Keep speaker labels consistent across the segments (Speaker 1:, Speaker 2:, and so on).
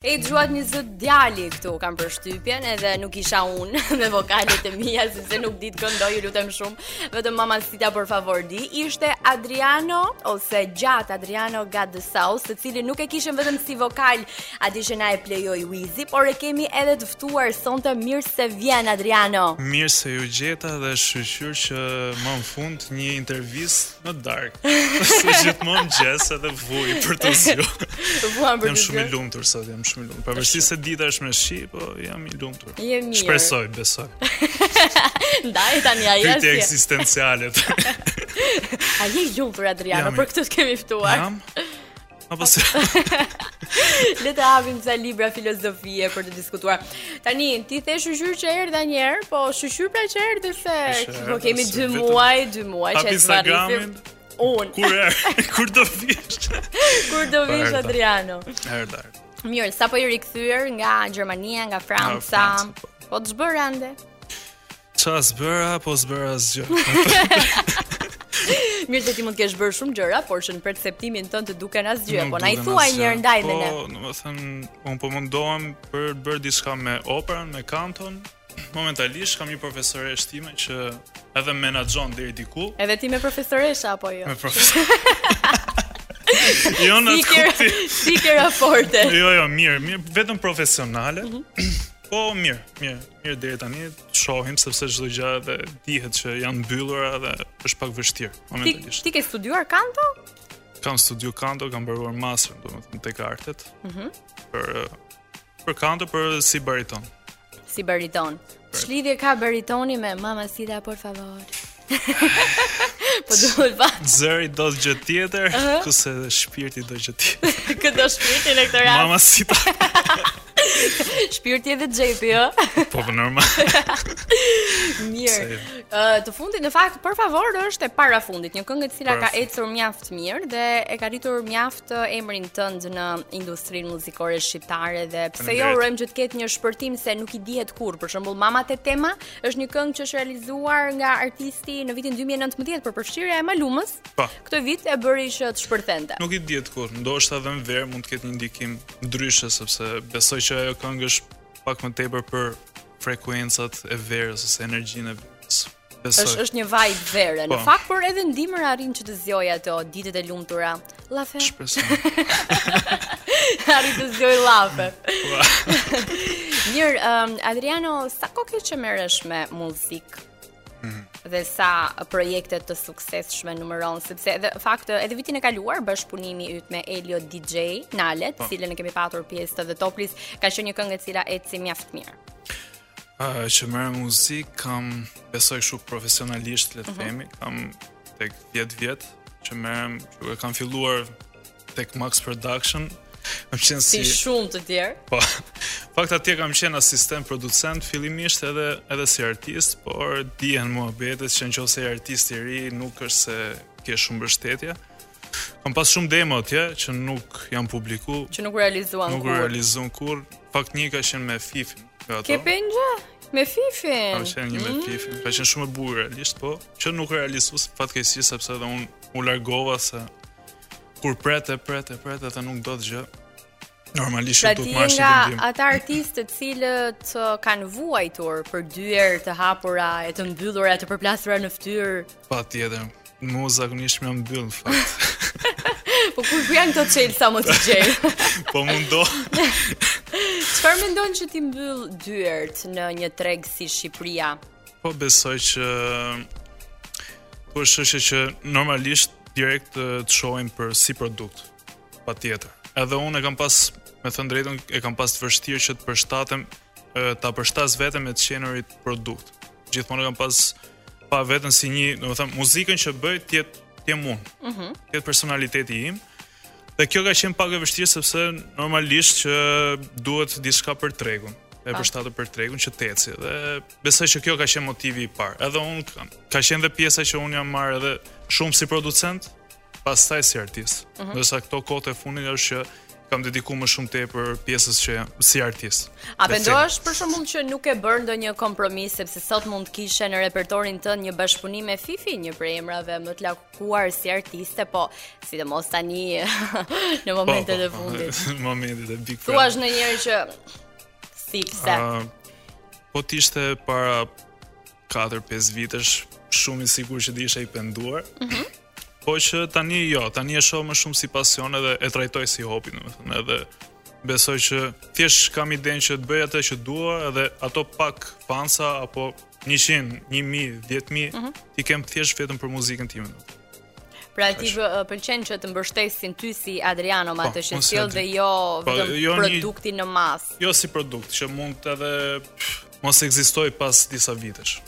Speaker 1: E gjuat një zot djali këtu kam për shtypjen edhe nuk isha unë me vokalet e mia sepse nuk di të këndoj, ju lutem shumë. Vetëm mama Sita për favor di, ishte Adriano ose Gjat Adriano Gat the South, të cilin nuk e kishim vetëm si vokal, aty që na e plejoi Wizi, por e kemi edhe të ftuar sonte mirë se vjen Adriano.
Speaker 2: Mirë se ju gjeta dhe shqyqyr që më në fund një intervistë në dark. si gjithmonë gjes edhe vuj për të zgju.
Speaker 1: Të vuan për
Speaker 2: jam
Speaker 1: dy
Speaker 2: shumë i
Speaker 1: gjë.
Speaker 2: lumtur sot, jam shumë i lumtur. Pavarësisht se dita është me shi, po jam i lumtur.
Speaker 1: Je mirë.
Speaker 2: Shpresoj, besoj.
Speaker 1: Ndaj tani ai
Speaker 2: Pyetje
Speaker 1: është.
Speaker 2: ekzistenciale.
Speaker 1: A je i lumtur Adriano,
Speaker 2: Jam i-
Speaker 1: për këtë të kemi ftuar.
Speaker 2: jam? Apo se
Speaker 1: Le të hapim disa libra filozofie për të diskutuar. Tani ti the shqyr që erdha një herë, po shqyr pra që erdhi se
Speaker 2: Që
Speaker 1: po
Speaker 2: erdhe,
Speaker 1: kemi
Speaker 2: se
Speaker 1: 2
Speaker 2: vetëm-
Speaker 1: muaj, 2 muaj që
Speaker 2: hap
Speaker 1: e zvarrisim.
Speaker 2: Instagramin.
Speaker 1: Unë,
Speaker 2: Kur er, kur do vish?
Speaker 1: kur do vish
Speaker 2: erdha.
Speaker 1: Adriano?
Speaker 2: Erdar.
Speaker 1: Mirë, sapo i rikthyer nga Gjermania, nga Franca.
Speaker 2: Franca, po.
Speaker 1: Po të zbër ande.
Speaker 2: Qa s'bëra, po s'bëra asgjë.
Speaker 1: Mirë se ti mund të kesh bërë shumë gjëra, por që në perceptimin tënd të duken asgjë,
Speaker 2: Nuk
Speaker 1: po na i
Speaker 2: duken
Speaker 1: thuaj
Speaker 2: asgjë.
Speaker 1: një herë ndaj dhe ne.
Speaker 2: Po, do të thënë, un po mundohem për të bërë diçka me operën, me kanton. Momentalisht kam një profesore shtime që edhe menaxhon deri diku.
Speaker 1: Edhe ti me profesoresha apo jo?
Speaker 2: Me profesor. jo në atë
Speaker 1: Siker,
Speaker 2: kuptim.
Speaker 1: siker raporte.
Speaker 2: Jo, jo, mirë, mirë, vetëm profesionale.
Speaker 1: Mhm.
Speaker 2: po mirë, mirë, mirë deri tani shohim sepse çdo gjë edhe dihet që janë mbyllura dhe është pak vështirë
Speaker 1: Ti,
Speaker 2: momentalisht.
Speaker 1: ti ke studiuar kanto?
Speaker 2: Kam studiu kanto, kam bërë master, domethënë tek artet. Mhm. për për kanto për si bariton.
Speaker 1: si bariton. Ç'lidhje ka baritoni me Mama Sita por favor? po duhet pa
Speaker 2: Zëri do të gjë tjetër, ku se shpirti do gjë tjetër.
Speaker 1: këto shpirtin e këtë rast.
Speaker 2: Mama si ta.
Speaker 1: Shpirti edhe xhepi, ë.
Speaker 2: po po normal.
Speaker 1: Mirë.
Speaker 2: Se-
Speaker 1: Ë, të fundit në fakt por favor është e para fundit, një këngë e cila ka
Speaker 2: Para fundit.
Speaker 1: ecur mjaft mirë dhe e ka rritur mjaft ë, emrin tënd në industrinë muzikore shqiptare dhe pse jo
Speaker 2: Faleminderit.
Speaker 1: urojmë që të ketë një shpërtim se nuk i dihet kur. Për shembull, Mamat e Tema është një këngë që është realizuar nga artisti në vitin 2019 për përfshirja e Malumës.
Speaker 2: Po.
Speaker 1: Këtë vit e bëri që të shpërthente.
Speaker 2: Nuk i dihet kur, ndoshta edhe në verë mund të ketë një ndikim ndryshe sepse besoj që ajo këngë është pak më tepër për frekuencat e verës ose energjinë e verës. Besoj.
Speaker 1: Është është një vibe vere. Në
Speaker 2: Po.
Speaker 1: fakt por edhe ndihmën arrin që të zjoj ato ditët e lumtura. Llafe.
Speaker 2: Shpresoj.
Speaker 1: Arrin të zjoj llafe.
Speaker 2: Po.
Speaker 1: Mirë, um, Adriano, sa kohë ke që merresh me muzikë?
Speaker 2: Mhm.
Speaker 1: dhe sa projekte të suksesshme numëron sepse edhe fakt edhe vitin e kaluar bashkëpunimi yt me Elio DJ Nalet,
Speaker 2: Po.
Speaker 1: cilën e kemi patur pjesë të The Top List, ka qenë një këngë e cila eci mjaft mirë.
Speaker 2: Uh, që merë muzikë, kam besoj kështu profesionalisht, le të
Speaker 1: Mhm.
Speaker 2: themi, kam tek 10 vjetë që merem, që e kam filluar tek Max Production, kam qenë si,
Speaker 1: Si shumë të tjerë.
Speaker 2: po, fakt atje kam qenë asistent producent fillimisht edhe, edhe si artist, por dihen mua betet që në qofë se je artist i ri nuk është se ke shumë bështetje. Kam pas shumë demo atje që nuk jam publiku,
Speaker 1: që nuk u realizuan
Speaker 2: nuk u
Speaker 1: kur.
Speaker 2: realizon kur, fakt një ka qenë me Fifin. nga ato.
Speaker 1: Ke pengjë me Fifin.
Speaker 2: Po. Kam qenë një me
Speaker 1: Mm.
Speaker 2: pifin, ka qenë shumë e bukur realisht, po që nuk realizu së fatkeqësi sepse edhe unë u largova se kur prete, prete, prete dhe nuk do të gjë. Normalisht
Speaker 1: Pra
Speaker 2: që do
Speaker 1: ti
Speaker 2: të
Speaker 1: je
Speaker 2: marrësh një
Speaker 1: nga
Speaker 2: vendim.
Speaker 1: ata artistë të cilët uh, kanë vuajtur për dyer të hapura e të mbyllura të përplasura në fytyrë.
Speaker 2: Patjetër. Mu zakonisht më mbyll në fakt.
Speaker 1: Po kur ku janë këto çelsa më të gjej?
Speaker 2: po mundo.
Speaker 1: Çfarë mendon që ti mbyll dyert në një treg si Shqipëria?
Speaker 2: Po besoj që po është që normalisht direkt të të shohim për si produkt. Patjetër. Edhe unë e kam pas, me thënë drejtën, e kam pas të vështirë që të përshtatem e, ta përshtas veten me të qenurit produkt. Gjithmonë e kam pas pa veten si një, domethënë, muzikën që bëj të jetë të jem unë. Mhm. të jetë personaliteti im. Dhe kjo ka qenë pak e vështirë sepse normalisht që duhet diçka për tregun e përshtatë për tregun që teci dhe besoj që kjo ka qenë motivi i parë. Edhe unë kam, ka qenë dhe pjesa që unë jam marrë edhe shumë si producent, pastaj si artist. Ndërsa këto kote e fundit është që kam dedikuar më shumë tepër pjesës që jam si artist.
Speaker 1: A mendohesh për shembull që nuk e bën ndonjë kompromis sepse sot mund të kishe në repertorin tënd një bashkëpunim me Fifi, një prej emrave më të lakuar si artiste, po sidomos tani
Speaker 2: Po,
Speaker 1: në momentet e fundit.
Speaker 2: Në momentet e Big Thua
Speaker 1: Thuash ndonjëherë që si pse?
Speaker 2: Ah, po të ishte para 4-5 vitesh shumë i sigurt që do isha i penduar. Po që tani jo, tani e shoh më shumë si pasion edhe e trajtoj si hobi, domethënë, edhe besoj që thjesht kam idenë që të bëj atë që dua edhe ato pak fansa apo 100, 1000, 10000 ti kem thjesht vetëm për muzikën time.
Speaker 1: pra ti vë- pëlqen që të mbështesin ty si Adriano me
Speaker 2: Po,
Speaker 1: atë që
Speaker 2: mos e
Speaker 1: sjell
Speaker 2: di.
Speaker 1: dhe jo
Speaker 2: Po,
Speaker 1: vetëm
Speaker 2: jo një-
Speaker 1: produktin në masë.
Speaker 2: Jo si produkt që mund të edhe pff, mos ekzistoj pas disa vitesh.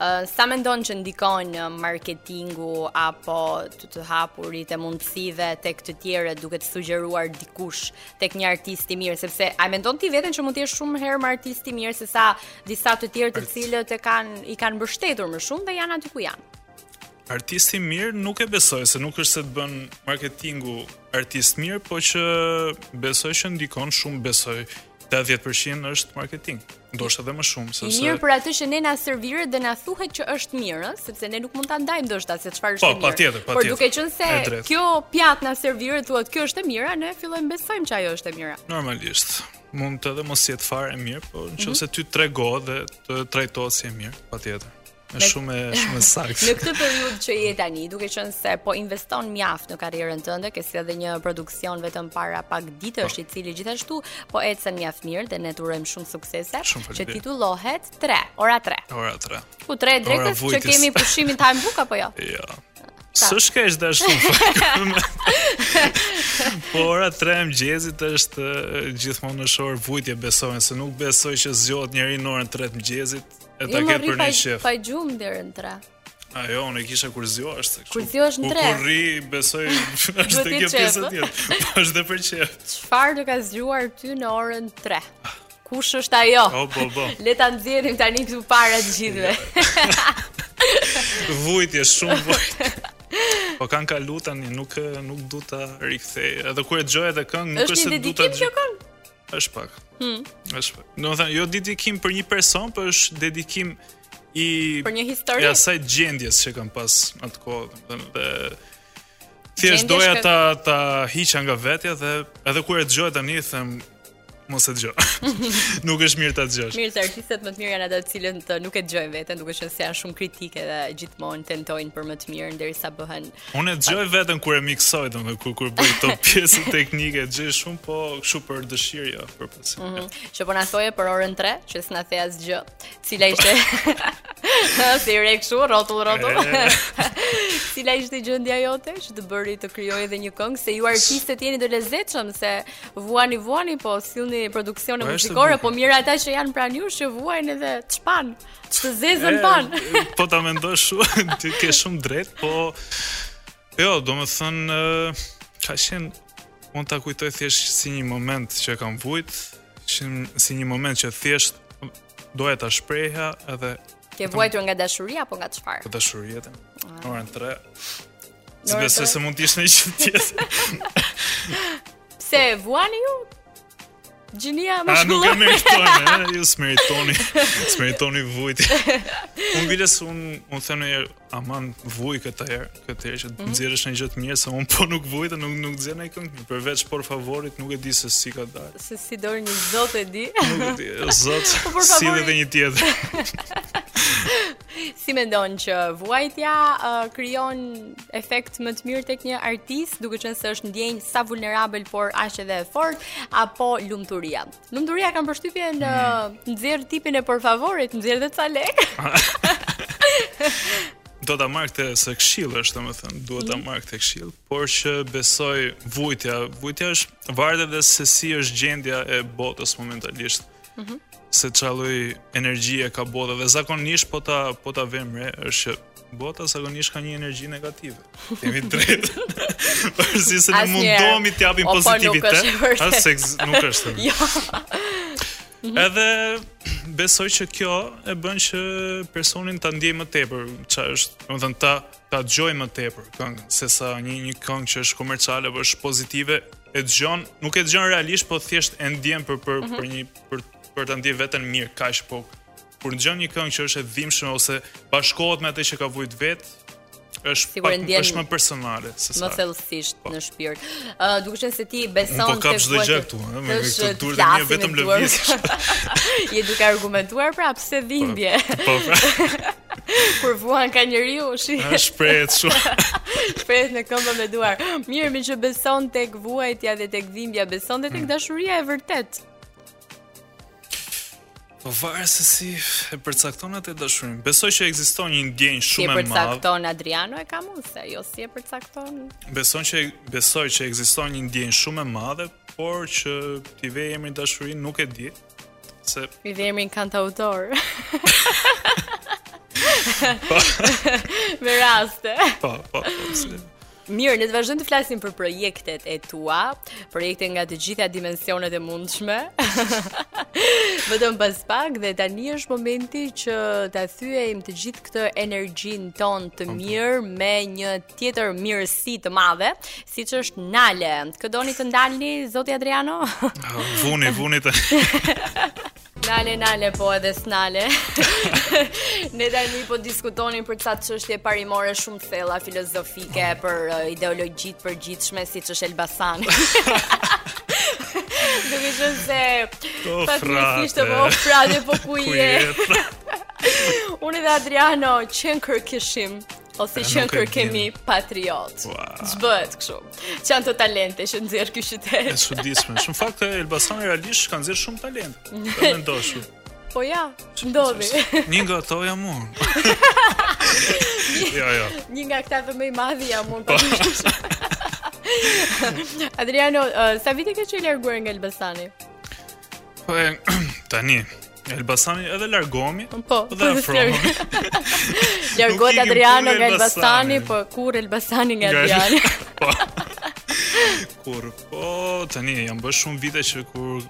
Speaker 1: Ë, sa mendon që ndikon ë, marketingu apo të të hapurit e mundësive tek të tjerë duke të sugjeruar dikush tek një artist i mirë sepse a mendon ti veten që mund të jesh shumë herë më artist i mirë se sa disa të tjerë të
Speaker 2: Artist.
Speaker 1: cilët e kanë i kanë mbështetur më shumë dhe janë aty ku janë.
Speaker 2: Artisti mirë nuk e besoj se nuk është se të bën marketingu artist mirë, po që besoj që ndikon shumë, besoj 80% është marketing. Ndoshta edhe më shumë
Speaker 1: I
Speaker 2: sepse
Speaker 1: mirë për atë që ne na serviret dhe na thuhet që është mirë, ë, sepse ne nuk mund ta ndajmë ndoshta se çfarë është
Speaker 2: Po,
Speaker 1: e mirë.
Speaker 2: patjetër,
Speaker 1: Por
Speaker 2: patjetër.
Speaker 1: duke qenë se
Speaker 2: E drejtë.
Speaker 1: kjo pjatë na serviret thuhet kjo është e mira, ne fillojmë besojmë që ajo është e mira.
Speaker 2: normalisht mund të edhe mos jetë fare mirë, po
Speaker 1: Mhm.
Speaker 2: nëse ti trego dhe të trajtohet si e mirë, patjetër. Është shumë e shumë e
Speaker 1: Në
Speaker 2: saktë.
Speaker 1: këtë periudhë që je tani, duke qenë se po investon mjaft në karrierën tënde, ke si edhe një produksion vetëm para pak ditësh i cili gjithashtu po ecën mjaft mirë dhe ne të urojmë shumë suksese,
Speaker 2: Shumë
Speaker 1: që
Speaker 2: faleminderit.
Speaker 1: titullohet 3, ora 3.
Speaker 2: Ora 3.
Speaker 1: Ku 3 e drejtës që
Speaker 2: vujtjes.
Speaker 1: kemi pushimin time book apo jo?
Speaker 2: Ja. S'është keq dash shumë. po ora 3 e mëngjesit është e, gjithmonë në shor vujtje besojnë se nuk besoj që zgjohet njëri në orën 3 të mëngjesit e ta
Speaker 1: Jo më
Speaker 2: ketë
Speaker 1: rri
Speaker 2: për
Speaker 1: pa,
Speaker 2: një shef.
Speaker 1: pa gjumë deri në 3.
Speaker 2: Ajo, unë e kisha kur zgjohesh. se kështu.
Speaker 1: Kur zgjohesh në
Speaker 2: Ku-
Speaker 1: tre.
Speaker 2: Kur rri, besoj është
Speaker 1: ti
Speaker 2: kjo
Speaker 1: qef,
Speaker 2: pjesë
Speaker 1: ë?
Speaker 2: e tjetër. Po është dhe për qef.
Speaker 1: Çfarë do ka zgjuar ty në orën 3? Kush është ajo?
Speaker 2: O bo bo.
Speaker 1: Le ta nxjerrim tani këtu para të gjithëve.
Speaker 2: Vujtje shumë vujtje. Po kanë kalu tani, nuk e- nuk du ta rikthej. Edhe kur e dëgjoj edhe këngë, nuk
Speaker 1: Është
Speaker 2: është
Speaker 1: një
Speaker 2: se du ta
Speaker 1: dedikim
Speaker 2: dëgjoj.
Speaker 1: kjo këngë?
Speaker 2: është pak.
Speaker 1: Hmm.
Speaker 2: Hm. Është pak. Do të thënë, jo dedikim për një person, por është dedikim i
Speaker 1: Për një histori?
Speaker 2: e asaj gjendjes që kam pas atkohë, domethënë dhe thjesht
Speaker 1: Gjendjes
Speaker 2: doja
Speaker 1: që-
Speaker 2: ta ta hiqa nga vetja dhe edhe kur e dëgjoj tani them mos e dëgjoj. Nuk është mirë ta dëgjosh.
Speaker 1: Mirë se artistët më të mirë janë ata të cilët ë, nuk e dëgjojnë veten, duke qenë se janë shumë kritike dhe gjithmonë tentojnë për më të mirën derisa bëhen.
Speaker 2: Unë e dëgjoj veten kur e miksoj, domethënë kur kur bëj këto pjesë teknike, dëgjoj shumë, po kështu për dëshirë, jo, për pasion.
Speaker 1: Që po na thoje për orën 3, që s'na the asgjë. Cila ishte? si re kështu, rrotull rrotull. Cila ishte gjendja jote që të bëri të krijoj edhe një këngë se ju artistët jeni të lezetshëm se vuani vuani po sillni produksione
Speaker 2: Po, është e
Speaker 1: muzikore,
Speaker 2: bukur.
Speaker 1: po mirë ata që janë pranë jush që vuajnë edhe çpan, të zezën pan.
Speaker 2: E, po ta mendoj shumë, ti ke shumë drejt, po jo, do më thënë e, ka qenë unë ta kujtoj thjesht si një moment që kam vujt, që, si një moment që thjesht doja ta shprehja edhe
Speaker 1: Ke vuajtur nga dashuria apo nga çfarë?
Speaker 2: për dashurijën. Në orën 3.
Speaker 1: Në orën
Speaker 2: Besoj
Speaker 1: Ah. tre?
Speaker 2: se mund të ishte një gjë tjetër.
Speaker 1: Se vuani ju? Gjinia më
Speaker 2: A nuk e
Speaker 1: shkullon.
Speaker 2: meritoni, e, ju s'meritoni, s'meritoni vujt. Unë viles, unë un them një herë, aman vuj këtë herë, këtë herë që
Speaker 1: Mhm.
Speaker 2: të nxjerrësh një gjë të mirë, se unë po nuk vuj dhe nuk nuk nxjerr ndaj këngë, mirë, përveç por favorit nuk e di se si ka dalë.
Speaker 1: Se si dorë një zot e di.
Speaker 2: Nuk e di, e, zot,
Speaker 1: Po, por
Speaker 2: si
Speaker 1: favorit-
Speaker 2: edhe një tjetër.
Speaker 1: Si mendon që vuajtja uh, krijon efekt më të mirë tek një artist, duke qenë se është ndjenjë sa vulnerabël por aq edhe e fortë, apo lumturia? Lumturia kanë përshtypjen në
Speaker 2: Mhm.
Speaker 1: nxjerr tipin e për favorit, nxjerr dhe ca lek.
Speaker 2: Do ta marr këtë se këshill është, domethënë, duhet
Speaker 1: Mhm.
Speaker 2: ta marr këtë këshill, por që besoj vujtja, vujtja është varet edhe se si është gjendja e botës momentalisht.
Speaker 1: Mhm.
Speaker 2: Se çfarë lloj energjie ka bota dhe zakonisht po ta po ta vëmë re është që bota zakonisht ka një energji negative. Kemi drejt. Përsi se ne
Speaker 1: Asnjëherë.
Speaker 2: mundohemi të japim
Speaker 1: O, po, nuk
Speaker 2: pozitivitet.
Speaker 1: është e vërtetë.
Speaker 2: As se egz- nuk është. e vërtetë.
Speaker 1: jo.
Speaker 2: Edhe besoj që kjo e bën që personin ta ndjejë më tepër çfarë është, domethënë ta ta dëgjoj më tepër këngën sesa një një këngë që është komerciale apo është pozitive e dëgjon, nuk e dëgjon realisht, po thjesht e ndjen për për për një për për ta ndjerë veten mirë kaq po kur dëgjon një këngë që është e dhimbshme ose bashkohet me atë që ka vujt vet, është
Speaker 1: Sigur e
Speaker 2: pak
Speaker 1: ndjen
Speaker 2: është më personale sesa.
Speaker 1: Më thellësisht në shpirt. Ë duke qenë se ti beson
Speaker 2: Unë po kap
Speaker 1: se
Speaker 2: çdo
Speaker 1: kuat-
Speaker 2: gjë këtu, ëh, me
Speaker 1: Është
Speaker 2: këtë durë të mia
Speaker 1: klasin e
Speaker 2: vetëm
Speaker 1: duar.
Speaker 2: lëvizje.
Speaker 1: Je duke argumentuar pra pse dhimbje
Speaker 2: Po, pra,
Speaker 1: kur vuan ka njeriu shi
Speaker 2: është shprehet shumë.
Speaker 1: shprehet në këmbë me duar. Mirë, mi që beson tek vuajtja dhe tek dhimbja, beson dhe tek
Speaker 2: Mm.
Speaker 1: dashuria e vërtet.
Speaker 2: Po varet se si e përcakton atë dashurinë. Besoj që ekziston një ndjenjë
Speaker 1: Si e
Speaker 2: shumë e madhe.
Speaker 1: përcakton Adriano e Kamuse, jo si e përcakton.
Speaker 2: Besoj që besoj që ekziston një ndjenjë shumë e madhe, por që ti vej emrin dashurinë nuk e di. Se
Speaker 1: Mi dhe emrin kantautor. me raste.
Speaker 2: po, po. po, se-
Speaker 1: Mirë, ne të vazhdojmë të flasim për projektet e tua, projekte nga të gjitha dimensionet e mundshme. Vetëm pas pak dhe tani është momenti që ta thyejm të gjithë këtë energjinë tonë të mirë me një tjetër mirësi të madhe, siç është Nale. Kë doni të ndalni zoti Adriano?
Speaker 2: Ah, Vuni, vuni të
Speaker 1: Nale, nale, po edhe snale. ne tani po diskutonin për ca çështje parimore shumë të thella filozofike për uh, ideologji të përgjithshme siç është Elbasani. Duke qenë se
Speaker 2: O,
Speaker 1: fatmirësisht të
Speaker 2: Oh, frate.
Speaker 1: po frate po ku
Speaker 2: ku
Speaker 1: je.
Speaker 2: jetë.
Speaker 1: Unë dhe Adriano qen kërkishim ose
Speaker 2: E,
Speaker 1: qen
Speaker 2: nuk e
Speaker 1: kërkemi patriot.
Speaker 2: Ua.
Speaker 1: Ç'bëhet kështu? Çan të talente që nxjerr ky
Speaker 2: E
Speaker 1: qytet.
Speaker 2: çuditshme. Në fakt Elbasani realisht kanë zirë shumë talent. Ka mendosh.
Speaker 1: Po ja, ndodhi.
Speaker 2: Një nga ato jam unë. Jo, jo.
Speaker 1: Një nga këta të më i madhi jam unë po patyshtë. Adriano, uh, sa vite ke që i larguar nga Elbasani?
Speaker 2: Po e, tani Elbasani edhe largohemi.
Speaker 1: Po,
Speaker 2: Dhe afrohemi. Nuk i
Speaker 1: Largohet
Speaker 2: kem
Speaker 1: Adriano
Speaker 2: kurrë
Speaker 1: nga Elbasani,
Speaker 2: Elbasani.
Speaker 1: po kur Elbasani nga
Speaker 2: Nga-
Speaker 1: Adriano?
Speaker 2: po. kur po tani jam bërë shumë vite që kur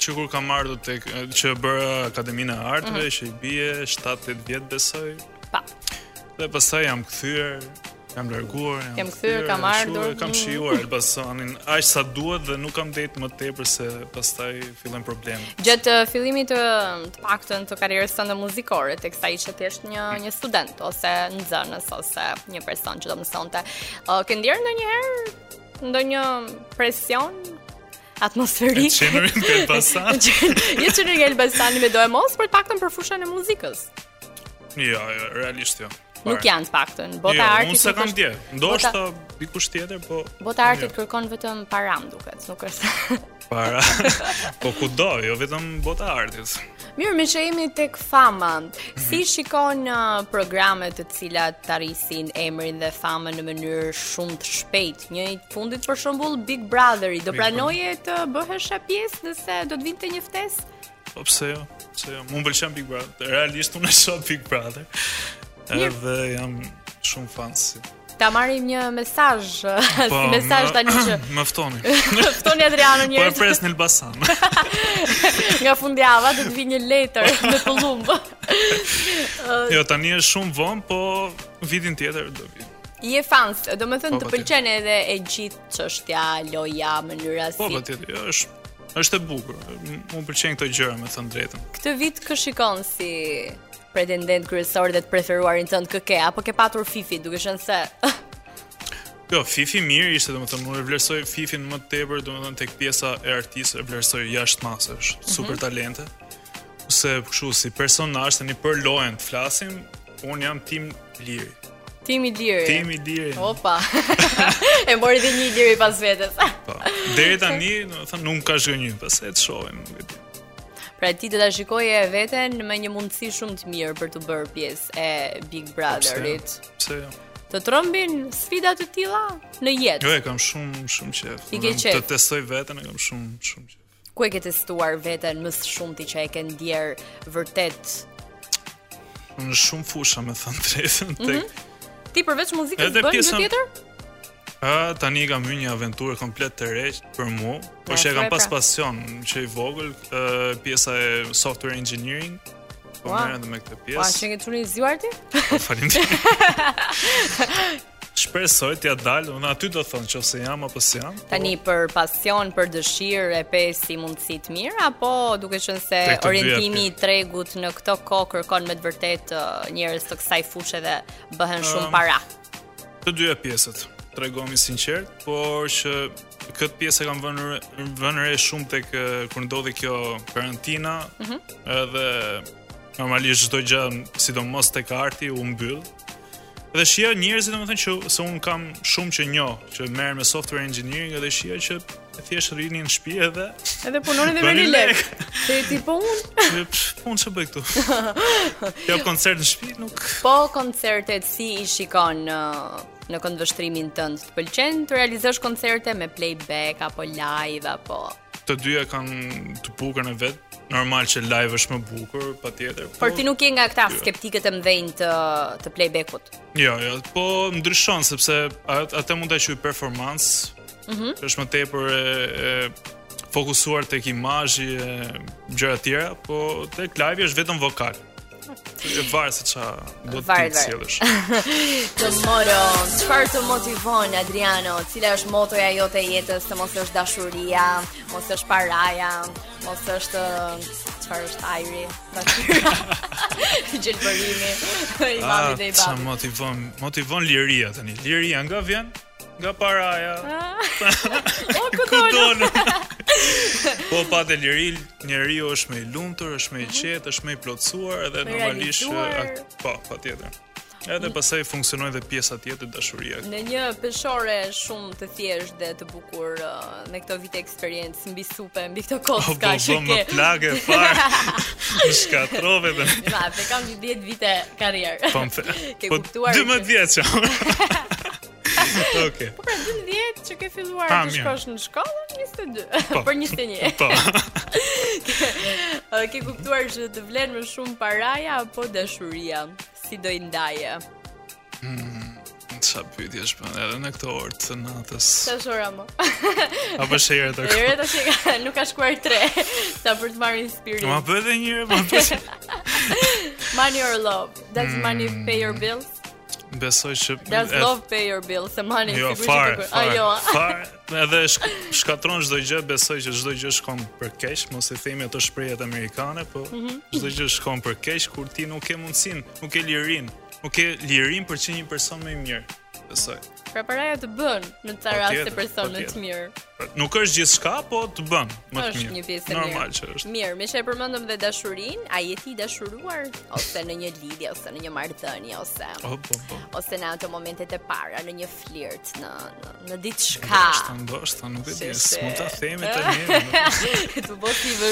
Speaker 2: që kur kam ardhur tek që bëra Akademinë e Arteve, që i bie 7-8 vjet besoj.
Speaker 1: Mhm. Pa.
Speaker 2: Dhe pastaj jam kthyer, jam larguar, jam
Speaker 1: Kem kthyer, kam
Speaker 2: jam
Speaker 1: ardhur.
Speaker 2: shuar, kam
Speaker 1: Mm.
Speaker 2: shijuar Elbasanin aq sa duhet dhe nuk kam det më tepër se pastaj fillen probleme.
Speaker 1: Gjatë uh, fillimit të, të paktën të karrierës tënde muzikore, teksa ishe thjesht një një student ose nxënës ose një person që do mësonte, uh, ke ndjerë ndonjëherë ndonjë presion
Speaker 2: E
Speaker 1: atmosferik?
Speaker 2: çenurin te Elbasan.
Speaker 1: Je që në nga Elbasani me do e mos, për të paktën për fushën e muzikës.
Speaker 2: Jo, jo, realisht jo.
Speaker 1: Nuk janë të paktën. Bota
Speaker 2: Jo,
Speaker 1: e artit.
Speaker 2: unë se
Speaker 1: nuk
Speaker 2: kam
Speaker 1: është-
Speaker 2: dje. Ndoshta dikush tjetër, po
Speaker 1: Bota e artit
Speaker 2: jo.
Speaker 1: kërkon vetëm param duket, nuk është.
Speaker 2: para. po kudo, jo vetëm bota e artit.
Speaker 1: Mirë, me që jemi tek fama, si shikon uh, programet të cilat të arrisin emrin dhe famën në mënyrë shumë të shpejt? Një i fundit për shembull Big Brotheri, do
Speaker 2: Big
Speaker 1: pranoje të bëhesh e pjesë nëse do të vinte një ftesë?
Speaker 2: Po pse jo? Pse jo? Unë pëlqen Big Brother. Realisht unë e shoh Big Brother.
Speaker 1: Mirë.
Speaker 2: Edhe jam shumë fan si.
Speaker 1: Ta marrim një mesazh, uh, si
Speaker 2: Po,
Speaker 1: mesazh
Speaker 2: më-
Speaker 1: tani që
Speaker 2: Më ftoni.
Speaker 1: ftoni Adriano
Speaker 2: Po e
Speaker 1: njerëz
Speaker 2: pres në Elbasan.
Speaker 1: nga fundjava do të vi një letër me pëllumb.
Speaker 2: jo, tani është shumë vonë, po vitin tjetër do vi.
Speaker 1: Je fans, do me thënë
Speaker 2: Po,
Speaker 1: të
Speaker 2: po,
Speaker 1: pëlqen edhe e gjithë çështja, loja, mënyra si.
Speaker 2: Po patjetër, jo, është është e bukur. M- Unë pëlqen këto gjëra, me thënë drejtën.
Speaker 1: Këtë vit kë shikon si pretendent kryesor dhe të preferuarin tënd kë ke apo ke patur Fifi duke qenë se
Speaker 2: Jo, Fifi mirë ishte, domethënë unë e vlerësoj Fifin më tepër, domethënë tek pjesa e artistë e vlerësoj jashtë masës,
Speaker 1: Mhm.
Speaker 2: super talente. Ose kështu si personazh tani për lojen të flasim, unë jam tim Liri.
Speaker 1: timi lirë.
Speaker 2: Tim i Liri.
Speaker 1: Opa. e mori dhe një lirë pas vetes. Pra,
Speaker 2: Po. Deri tani, domethënë nuk ka zgënjur, pastaj të shohim, nuk e di.
Speaker 1: pra ti do ta shikoje veten me një mundësi shumë të mirë për të bërë pjesë e Big
Speaker 2: Pse jo?
Speaker 1: Brotherit.
Speaker 2: Pse jo?
Speaker 1: Të trembin sfida të tilla në
Speaker 2: Jo,
Speaker 1: jetë.
Speaker 2: e kam shumë shumë
Speaker 1: I
Speaker 2: qejf.
Speaker 1: ke
Speaker 2: Domethënë,
Speaker 1: qejf?
Speaker 2: Të testoj veten, e kam shumë shumë qejf.
Speaker 1: Ku e ke testuar veten më së shumti që e ke ndjer vërtet
Speaker 2: Në shumë fusha me thënë drejtën
Speaker 1: Mhm.
Speaker 2: tek
Speaker 1: Ti përveç muzikës
Speaker 2: Edhe
Speaker 1: bën gjë
Speaker 2: pjesën-
Speaker 1: tjetër?
Speaker 2: A, tani kam hyrë një aventurë komplet të re për mua,
Speaker 1: Ja,
Speaker 2: por që e
Speaker 1: thuaj
Speaker 2: kam pas
Speaker 1: pra.
Speaker 2: pasion që i vogël, ë, pjesa e software engineering, po
Speaker 1: Ua.
Speaker 2: merren dhe me këtë
Speaker 1: Pa,
Speaker 2: pjesë.
Speaker 1: që nge çuni zjuarti?
Speaker 2: Po, Faleminderit. Shpresoj t'ja dal, unë aty do thonë nëse jam apo si jam. po,
Speaker 1: Tani për pasion, për dëshirë e pe si mundësi të mirë apo duke qenë se
Speaker 2: Tek të dyja,
Speaker 1: orientimi i tregut në këtë kohë kërkon me të vërtetë ë, njerëz të kësaj fushë dhe bëhen shumë
Speaker 2: Ëm,
Speaker 1: para.
Speaker 2: Të dyja pjesët. Tregojmë sinqert, por që këtë pjesë e kam vënë re- vënë re shumë tek eh, kur ndodhi kjo karantina.
Speaker 1: Mhm.
Speaker 2: Edhe normalisht çdo gjë, sidomos tek arti, u mbyll. Dhe shija njerëzit domethënë që se un kam shumë që njoh, që merr me software engineering edhe shija që thjesht rrinin në shtëpi edhe
Speaker 1: Edhe punonin dhe
Speaker 2: Bëni
Speaker 1: merrin
Speaker 2: lek.
Speaker 1: lek. Se ti po unë?
Speaker 2: që, pff, punë që bëj këtu. Jap koncert në shtëpi, nuk
Speaker 1: Po koncertet si i shikon në në këndvështrimin tënd të pëlqen të realizosh koncerte me playback apo live apo
Speaker 2: të dyja kanë të bukën e vet. Normal që live është më bukur, patjetër.
Speaker 1: Por
Speaker 2: po-
Speaker 1: ti nuk je nga këta skeptikët e mëdhenj të të playbackut.
Speaker 2: Jo, jo, po ndryshon sepse at- atë mund ta quaj performancë. Mhm. është më tepër e, e fokusuar tek imazhi e gjëra të tjera, po tek live është vetëm vokal. E varet se ç'a do të
Speaker 1: Varet,
Speaker 2: të
Speaker 1: varet.
Speaker 2: sjellësh.
Speaker 1: Tomorrow, çfarë të motivon Adriano? Cila është motoja jote e jetës? Se mos është dashuria, mos është paraja, mos është çfarë është ajri, natyra. Gjelbërimi i
Speaker 2: Ah,
Speaker 1: mamit dhe i
Speaker 2: ça
Speaker 1: babit.
Speaker 2: motivon, motivon liria tani. Liria nga vjen, nga
Speaker 1: Ah.
Speaker 2: paraja.
Speaker 1: O
Speaker 2: Ku
Speaker 1: ku do?
Speaker 2: donë? po pa të liri, njeriu është më i lumtur, është më i qetë, është më i plotësuar
Speaker 1: Më
Speaker 2: edhe
Speaker 1: Mhm. i
Speaker 2: normalisht
Speaker 1: realizuar. Mm.
Speaker 2: ak- po, patjetër. Edhe pastaj funksionojnë dhe pjesa tjetër dashuria.
Speaker 1: Në një peshore shumë të thjeshtë dhe të bukur ë, në këto vite eksperiencë mbi supe, mbi këto
Speaker 2: Po
Speaker 1: kocka
Speaker 2: po
Speaker 1: që
Speaker 2: më
Speaker 1: ke.
Speaker 2: plagë fare. Më shkatrove dhe
Speaker 1: Ma, pe kam një 10 vite karrierë.
Speaker 2: po më the.
Speaker 1: Ke
Speaker 2: Po
Speaker 1: kuptuar që-
Speaker 2: 12 vjeç jam. Okej.
Speaker 1: Pra 12 që ke filluar
Speaker 2: Pa,
Speaker 1: të
Speaker 2: mirë.
Speaker 1: shkosh në shkollë 22. Për 21.
Speaker 2: Po.
Speaker 1: Ë, Ke kuptuar që të vlen më shumë paraja apo dashuria? Si do i ndaje?
Speaker 2: Ça pyetje është bën edhe në këtë orë të natës.
Speaker 1: Tash ora më.
Speaker 2: Apo shëherë të kohë.
Speaker 1: Ere tash e ka, nuk ka shkuar 3 sa për të marrë inspirim.
Speaker 2: Ma bëhet edhe një herë, ma bëhet.
Speaker 1: Money or love? Does
Speaker 2: Mm.
Speaker 1: money pay your bills?
Speaker 2: Besoj që
Speaker 1: Does
Speaker 2: e-
Speaker 1: love pay your bills? Se money
Speaker 2: Jo,
Speaker 1: sigurisht
Speaker 2: fare,
Speaker 1: dukur-
Speaker 2: fare,
Speaker 1: A jo. a?
Speaker 2: fare. Edhe shk shkatron çdo gjë, besoj që çdo gjë shkon për keq, mos e themi ato shprehjet amerikane, po
Speaker 1: Mhm,
Speaker 2: çdo gjë shkon për keq kur ti nuk ke mundsinë, nuk ke lirinë, nuk ke lirinë për të qenë një person më i mirë. Besoj.
Speaker 1: Pra paraja të bën në ca
Speaker 2: Po
Speaker 1: raste
Speaker 2: tjetër,
Speaker 1: person
Speaker 2: po
Speaker 1: më të
Speaker 2: tjetër.
Speaker 1: mirë.
Speaker 2: Nuk është gjithçka, po të bën më të
Speaker 1: Është
Speaker 2: mirë.
Speaker 1: një pjesë e
Speaker 2: Normal
Speaker 1: mirë.
Speaker 2: që është.
Speaker 1: Mirë, me që e përmendëm dhe dashurinë, a je ti i dashuruar ose në një lidhje ose në një marrëdhënie ose
Speaker 2: Oh, po, po.
Speaker 1: ose në ato momentet e para në një flirt, në në, në diçka.
Speaker 2: Ndoshta, ndoshta, nuk e di,
Speaker 1: Sese.
Speaker 2: s'mund ta themi tani. nuk-
Speaker 1: Të bësh i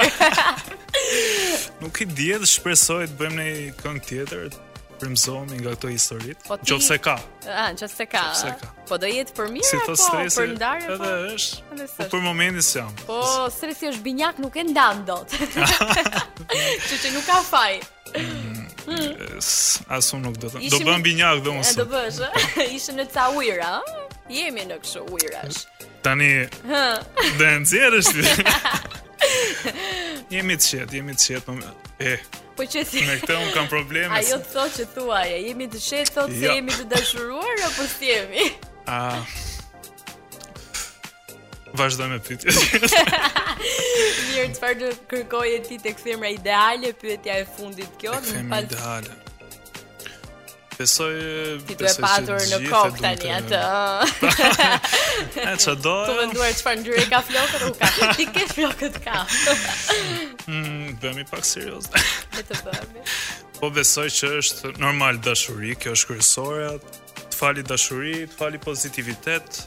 Speaker 1: vështirë.
Speaker 2: Nuk i di, edhe shpresoj të bëjmë një këngë tjetër, të frymëzohemi nga këto historitë.
Speaker 1: Po ti-
Speaker 2: Nëse ka.
Speaker 1: Ah, nëse ka.
Speaker 2: Nëse
Speaker 1: a?
Speaker 2: ka.
Speaker 1: Po do jetë për mirë
Speaker 2: si
Speaker 1: apo
Speaker 2: thot stresi,
Speaker 1: për ndarje
Speaker 2: edhe
Speaker 1: po?
Speaker 2: është.
Speaker 1: Edhe
Speaker 2: Po
Speaker 1: s'është.
Speaker 2: për momentin s'jam.
Speaker 1: Po, stresi është binjak, nuk e ndan dot. Që që nuk ka faj.
Speaker 2: S- As unë nuk do të. Do
Speaker 1: Ishim-
Speaker 2: bën binjak dhe unë.
Speaker 1: E do
Speaker 2: sot.
Speaker 1: bësh, ë? Ishë në ca ujëra, ë? Jemi në kështu ujërash.
Speaker 2: Tani do e nxjerrësh ti. Jemi të qetë, jemi të qetë. më- E,
Speaker 1: Po që si
Speaker 2: me këtë unë kam probleme.
Speaker 1: Ajo
Speaker 2: se-
Speaker 1: të thotë që thuaje, jemi të shetë thotë se
Speaker 2: Jo.
Speaker 1: jemi të dashuruar apo si jemi?
Speaker 2: A... Vazhdoj me pyetje.
Speaker 1: Mirë, çfarë do kërkoje ti tek femra ideale? Pyetja e fundit kjo,
Speaker 2: Tek
Speaker 1: më
Speaker 2: Themi
Speaker 1: pas
Speaker 2: ideale. Besoj
Speaker 1: ti
Speaker 2: besoj
Speaker 1: duhet
Speaker 2: që
Speaker 1: patur në
Speaker 2: gjithë e
Speaker 1: kokë
Speaker 2: duan
Speaker 1: tani
Speaker 2: të-
Speaker 1: atë.
Speaker 2: E çdo do.
Speaker 1: Tu menduar çfarë ngjyre ka flokët u ka. Ti ke flokët ka.
Speaker 2: mm, Bëhemi pak serioz.
Speaker 1: Me të bëmi.
Speaker 2: Po besoj që është normal dashuri, kjo është kryesore. Të fali dashuri, të fali pozitivitet,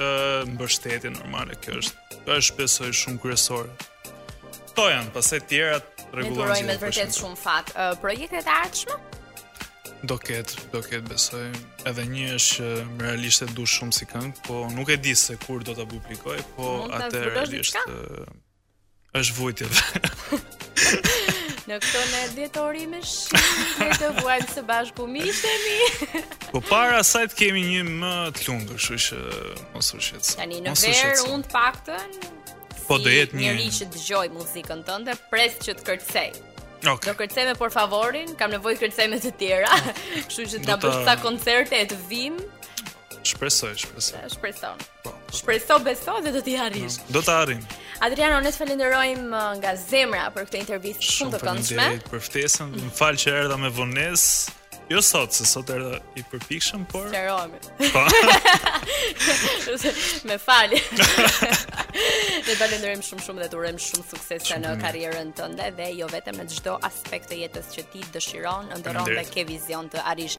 Speaker 2: ë mbështetje normale, kjo është është besoj shumë kryesore. Kto janë, pastaj të tjera rregullojnë.
Speaker 1: Menturoj me të vërtet shumë fat. Ë, projektet e ardhshme?
Speaker 2: Do ketë, do ketë besoj. Edhe një është që më realisht e du shumë si këngë, po nuk e di se kur do ta publikoj, po
Speaker 1: Mund ta
Speaker 2: atë
Speaker 1: zbulosh
Speaker 2: realisht ë, është vujtje.
Speaker 1: Në këto në dhjetori me shi, dhe të vuajmë së bashku miqtemi.
Speaker 2: po para asaj të kemi një më të lumtur, kështu që mos u shqetëso.
Speaker 1: Tani në
Speaker 2: Mos u
Speaker 1: verë
Speaker 2: shqetëso.
Speaker 1: unë të paktën
Speaker 2: Po, do jetë një-
Speaker 1: njerëz që dëgjoj muzikën tënde, pres që të kërcej.
Speaker 2: Okej.
Speaker 1: Do kërceme por favorin, kam nevojë kërceme të tjera. Kështu që ta
Speaker 2: Do ta-
Speaker 1: bësh sa koncerte e të vim,
Speaker 2: Shpresoj, shpresoj.
Speaker 1: shpreson.
Speaker 2: Po.
Speaker 1: Shpreso, beso dhe do t'i arrish.
Speaker 2: Do ta arrim.
Speaker 1: Adriano, ne të falenderojmë uh, nga zemra për këtë intervistë shumë të këndshme.
Speaker 2: faleminderit për ftesën. Më fal që erdha me vonesë. Jo sot, se sot erdha i përpikshëm, por
Speaker 1: Qërohemi.
Speaker 2: po.
Speaker 1: Me falje. Ne falenderojmë shumë shumë dhe të urojmë shumë suksese në karrierën tënde dhe jo vetëm në çdo aspekt të jetës që ti dëshiron, ndëron dhe
Speaker 2: Faleminderit.
Speaker 1: ke vizion të arrish